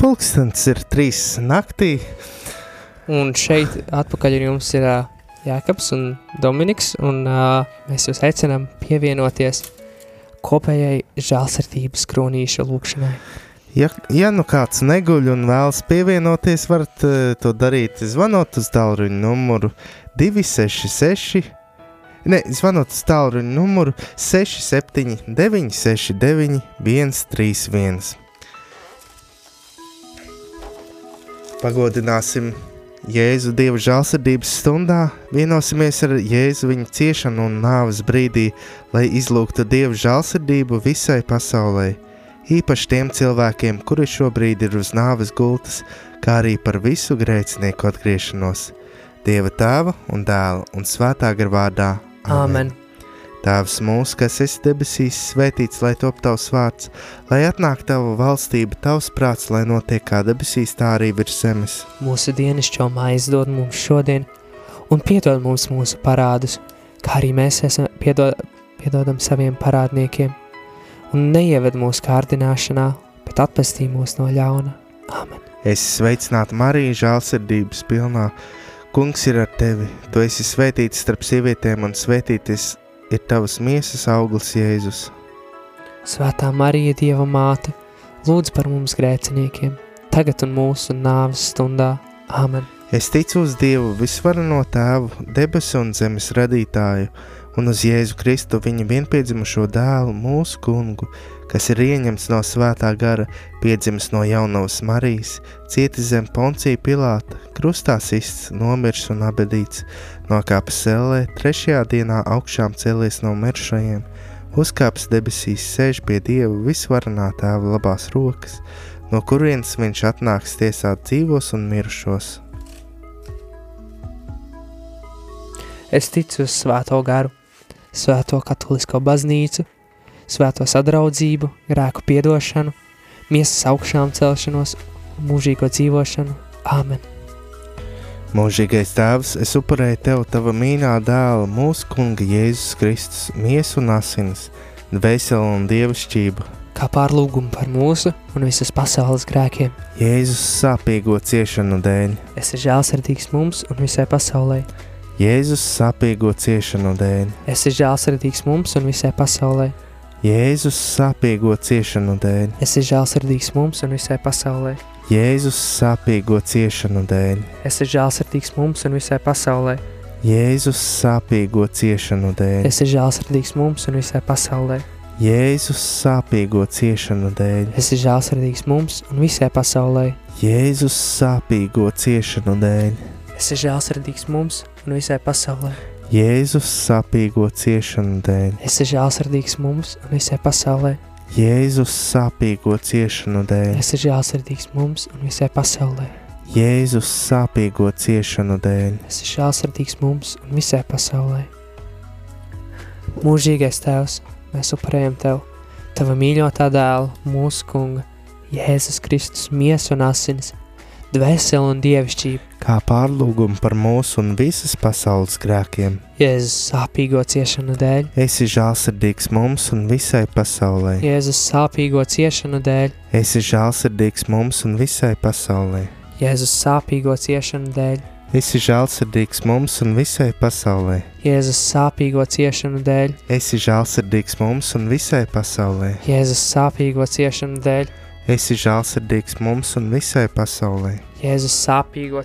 Pulkstenis ir trīs naktī. Un šeit atpakaļ ar jums ir uh, Jānis un Dominiks. Un, uh, mēs jūs aicinām pievienoties kopējai žēlsirdības kronīša lūkšanai. Ja, ja nu kāds neguļ un vēlas pievienoties, varat uh, to darīt. Zvanot uz tālruņa numuru 266, ne, zvanot uz tālruņa numuru 679, 69, 131. Pagodināsim Jēzu Dieva žēlsirdības stundā, vienosimies ar Jēzu viņa ciešanu un nāves brīdī, lai izlūgtu Dieva žēlsirdību visai pasaulei īpaši tiem cilvēkiem, kuri šobrīd ir uz nāves gultas, kā arī par visu grēcinieku atgriešanos. Dieva tēva un dēla un svētā gara vārdā. Āmen! Tēvs mūsu, kas esi debesīs, svētīts lai top tavs vārds, lai atnāktu tava valstība, tavs prāts, lai notiek kā debesīs, tā arī virs zemes. Mūsu dienascho maize dod mums šodien, un piedod mums mūsu parādus, kā arī mēs esam piedod, piedodam saviem parādniekiem un neieved mūsu kārdināšanā, bet atpestī mūs no ļauna. Amen! Es sveicinātu Mariju, žēlsirdības pilnā. Kungs ir ar tevi, tu esi svētīts starp sievietēm, un svētītis ir tavas miesas auglis, Jēzus. Svētā Marija, Dieva māte, lūdz par mums grēciniekiem, tagad un mūsu nāves stundā. Amen! Es ticu uz Dievu, visvarano tēvu, debesu un zemes radītāju un uz Jēzu Kristu viņa vienpiedzimušo dēlu, mūsu kungu, kas ir ieņemts no svētā gara, piedzimis no jaunavas Marijas, cietis zem poncija Pilāta, krustā sists, nomirs un abedīts, nokāpis sellē, trešajā dienā augšām cēlies no miršajiem, uzkāpis debesīs, sēž pie Dieva visvarenā tēva labās rokas, no kurienes viņš atnāks tiesāt dzīvos un mirušos. Es ticu uz svēto garu, svēto katolisko baznīcu, svēto sadraudzību, grēku piedošanu, miesas augšām celšanos, mūžīgo dzīvošanu. Āmen! Mūžīgais Tēvs, es upurēju Tev, Tava mīļā dēla, mūsu Kunga Jēzus Kristus, miesu un asinis, dvēseli un dievišķību. Kā pārlūgumu par mūsu un visas pasaules grēkiem, Jēzus sāpīgo ciešanu dēļ, es esmu žēlsirdīgs mums un visai pasaulē. Jēzus sāpīgo ciešanu dēļ, Es esmu žēlsirdīgs mums un visai pasaulē. Jēzus sāpīgo ciešanu dēļ, Es esmu žēlsirdīgs mums un visai pasaulē. Jēzus sāpīgo ciešanu dēļ, Es esmu žēlsirdīgs mums un visai pasaulē. Jēzus sāpīgo ciešanu dēļ, Es esmu žēlsirdīgs mums un visai pasaulē. Jēzus sāpīgo ciešanu dēļ, Es esmu žēlsirdīgs mums un visai pasaulē. Jēzus sāpīgo ciešanu dēļ, Es esmu žēlsirdīgs mums un visai pasaulē. Jēzus sāpīgo ciešanu dēļ, Es esmu žēlsirdīgs mums un visai pasaulē. Jēzus sāpīgo ciešanu dēļ, Jēzus sāpīgo ciešanu dēļ, Es esmu žēlsirdīgs mums un visai pasaulē. Es esmu žēlsirdīgs mums un visai pasaulē. Mūžīgais Tēvs, mēs upurējam Tev, Tava mīļotā dēla, mūsu Kunga, Jēzus Kristus, miesu un asins, dvēseli un dievišķību, kā pārlūgumu par mūsu un visas pasaules grēkiem. Jēzus sāpīgo ciešanu dēļ, Esi žēlsirdīgs mums un visai pasaulē. Jēzus sāpīgo ciešanu dēļ, Esi žēlsirdīgs mums un visai pasaulē. Jēzus sāpīgo ciešanu dēļ, Esi žēlsirdīgs mums un visai pasaulē. Jēzus sāpīgo ciešanu dēļ, Esi žēlsirdīgs mums un visai pasaulē. Jēzus sāpīgo ciešanu dēļ, Esi žēlsirdīgs mums un visai pasaulē. Jēzus sāpīgo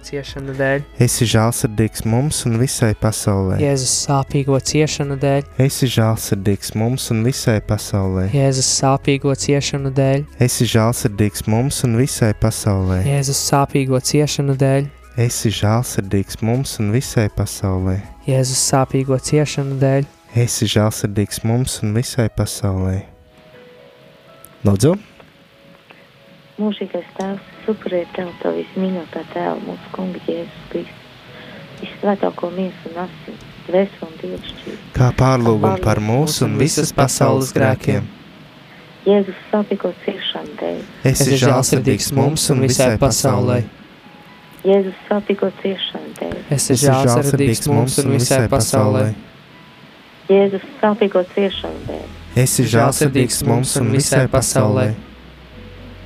ciešanu dēļ, Esi žēlsirdīgs mums un visai pasaulē. Jēzus sāpīgo ciešanu dēļ, Esi žēlsirdīgs mums un visai pasaulē. Jēzus sāpīgo ciešanu dēļ, Esi žēlsirdīgs mums un visai pasaulē. Esi žēlsirdīgs mums un visai Jēzus sāpīgo ciešanu dēļ, pasaulē. Jēzus sāpīgo ciešanu dēļ, Esi žēlsirdīgs mums un visai pasaulē. Lūdzu, Mūžīgais Tēvs, superiet Tev, Tev vismīļotā Tēva, mūsu Kunga Jēzus Kristus, visvētāko miesu un asins, dvēseli un dievšķību. kā pārlūgumu par mūsu un visas pasaules grēkiem. Jēzus sāpīgo ciešanu dēļ, Esi žēlsirdīgs mums un visai pasaulē. Jēzus sāpīgo ciešanu dēļ, es esmu žēlsirdīgs mums un visai pasaulē. Jēzus sāpīgo ciešanu dēļ, Esi žēlsirdīgs mums un visai pasaulē.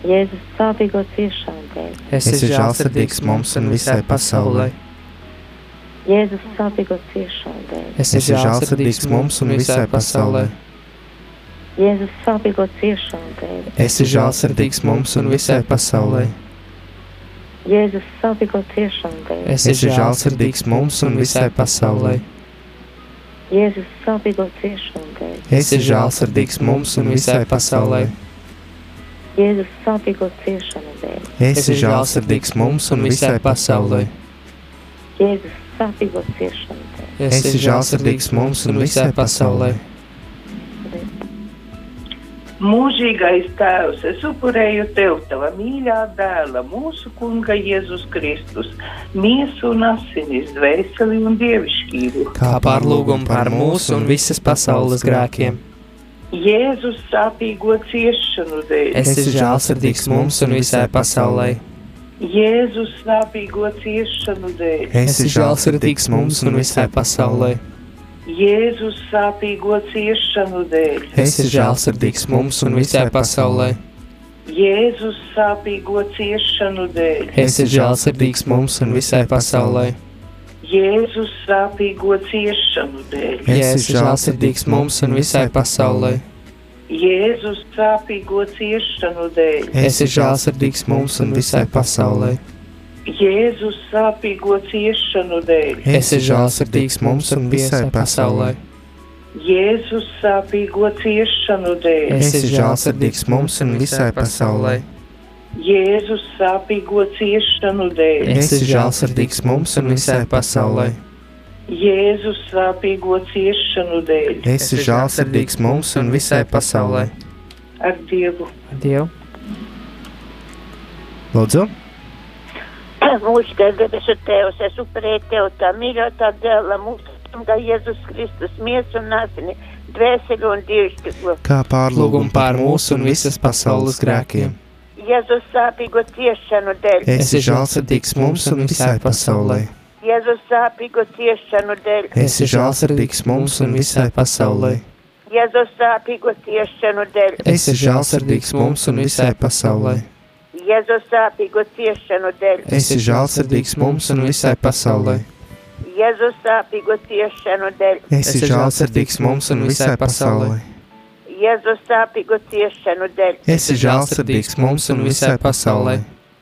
Jēzus sāpīgo ciešanu dēļ, Es Esi žēlsirdīgs mums un visai pasaulē. Jēzus sāpīgo ciešanu dēļ, Es Esi žēlsirdīgs mums un visai pasaulē. Jēzus sāpīgo ciešanu dēļ, Esi žēlsirdīgs mums un visai pasaulē. Jēzus sāpīgo ciešanu dēļ, Es Esi žēlsirdīgs mums un visai pasaulē. Jēzus sāpīgo ciešanu dēļ, Esi žēlsirdīgs mums un visai pasaulē. Jēzus sāpīgo ciešanu dēļ, Esi žēlsirdīgs mums un visai pasaulē. Esi žēlsirdīgs mums un Jēzus sāpīgo ciešanu dēļ. visai pasaulē. Mūžīgais tēvs, es upurēju tev, tava mīļā dēla, mūsu kunga Jēzus Kristus, miesu un asinis, dvēseli un dievišķību. Kā pārlūgumu par mūsu un visas pasaules grēkiem. Jēzus sāpīgo ciešanu dēļ, Es esmu žēlsirdīgs mums un visai pasaulē. Jēzus sāpīgo ciešanu dēļ, Es Esi esmu žēlsirdīgs mums un visai pasaulē. Jēzus sāpīgo ciešanu dēļ, Es esmu žēlsirdīgs mums un visai pasaulē. Jēzus sāpīgo ciešanu dēļ, Es esmu žēlsirdīgs mums un visai pasaulē. Jēzus sāpīgo ciešanu dēļ, Es esmu žēlsirdīgs mums un visai pasaulē. Jēzus sāpīgo ciešanu dēļ. Es esmu žēlsirdīgs mums un visai pasaulē. Jēzus sāpīgo ciešanu dēļ, Es esmu žēlsirdīgs mums un visai pasaulē. Jēzus sāpīgo ciešanu dēļ, Es esmu žēlsirdīgs mums un visai pasaulē. Jēzus sāpīgo ciešanu dēļ, Es esmu žēlsirdīgs mums un visai pasaulē. Jēzus sāpīgo ciešanu dēļ, Esi žēlsirdīgs mums un visai pasaulē. ar Dievu. Dievu! Lūdzu, Mūsu debesu Tēvs, es upurēju Tev tā mīļotā dēla, mūsu kunga Jēzus Kristus, miesu un asini, dvēseli un dievšķīgo. kā pārlūgumu par mūsu un visas pasaules grēkiem. Jēzus sāpīgo ciešanu dēļ, Esi žēlsirdīgs mums un visai pasaulē. Jēzus sāpīgo ciešanu dēļ, Esi žēlsirdīgs mums un visai pasaulē. Jēzus sāpīgo ciešanu dēļ, Esi žēlsirdīgs mums un visai pasaulē. Jēzus sāpīgo ciešanu dēļ, Esi žēlsirdīgs mums un visai pasaulē. Jēzus sāpīgo ciešanu dēļ, Esi žēlsirdīgs mums un visai pasaulē.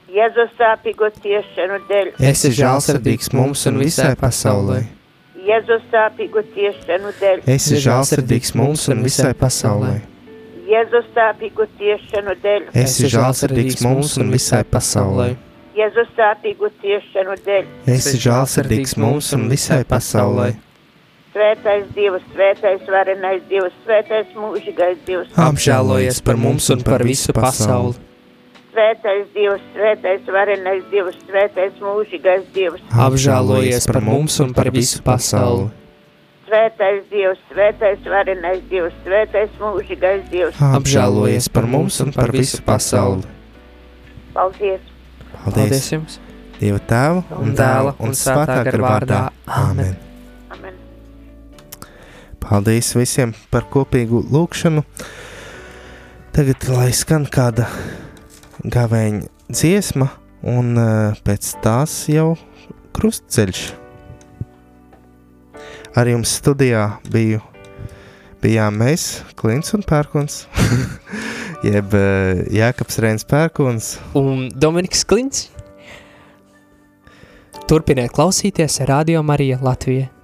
Jēzus sāpīgo ciešanu dēļ, Esi žēlsirdīgs mums un visai pasaulē. Jēzus sāpīgo ciešanu dēļ, Esi žēlsirdīgs mums un visai pasaulē. Jēzus sāpīgo ciešanu dēļ, Esi žēlsirdīgs mums un visai pasaulē. Jēzus sāpīgo ciešanu dēļ, Esi žēlsirdīgs mums un visai pasaulē. Esi Jēzus sāpīgo ciešanu dēļ. žēlsirdīgs mums un visai pasaulē. Svētais Dievs, svētais varenais Dievs, svētais mūžīgais Dievs, Apžēlojies par mums un par visu pasauli. svētais Dievs, svētais varenais Dievs, svētais mūžīgais Dievs, Apžēlojies par mums un par visu pasauli. svētais Dievs, svētais varenais Dievs, svētais mūžīgais Dievs. Apžēlojies par mums un par visu pasauli. Paldies! Paldies jums! Dieva Tēva un Dēla un Svētā gara vārdā. Āmen! Amen! Paldies visiem par kopīgu lūgšanu. Tagad lai skan kāda gaveņa dziesma, un eh, pēc tās jau krustceļš. Ar jums studijā biju, bijām mēs, Klints un Pērkons, jeb eh, Jēkabs Rēns Pērkons. Un Dominiks Klints. Turpiniet klausīties Radio Marija Latvija.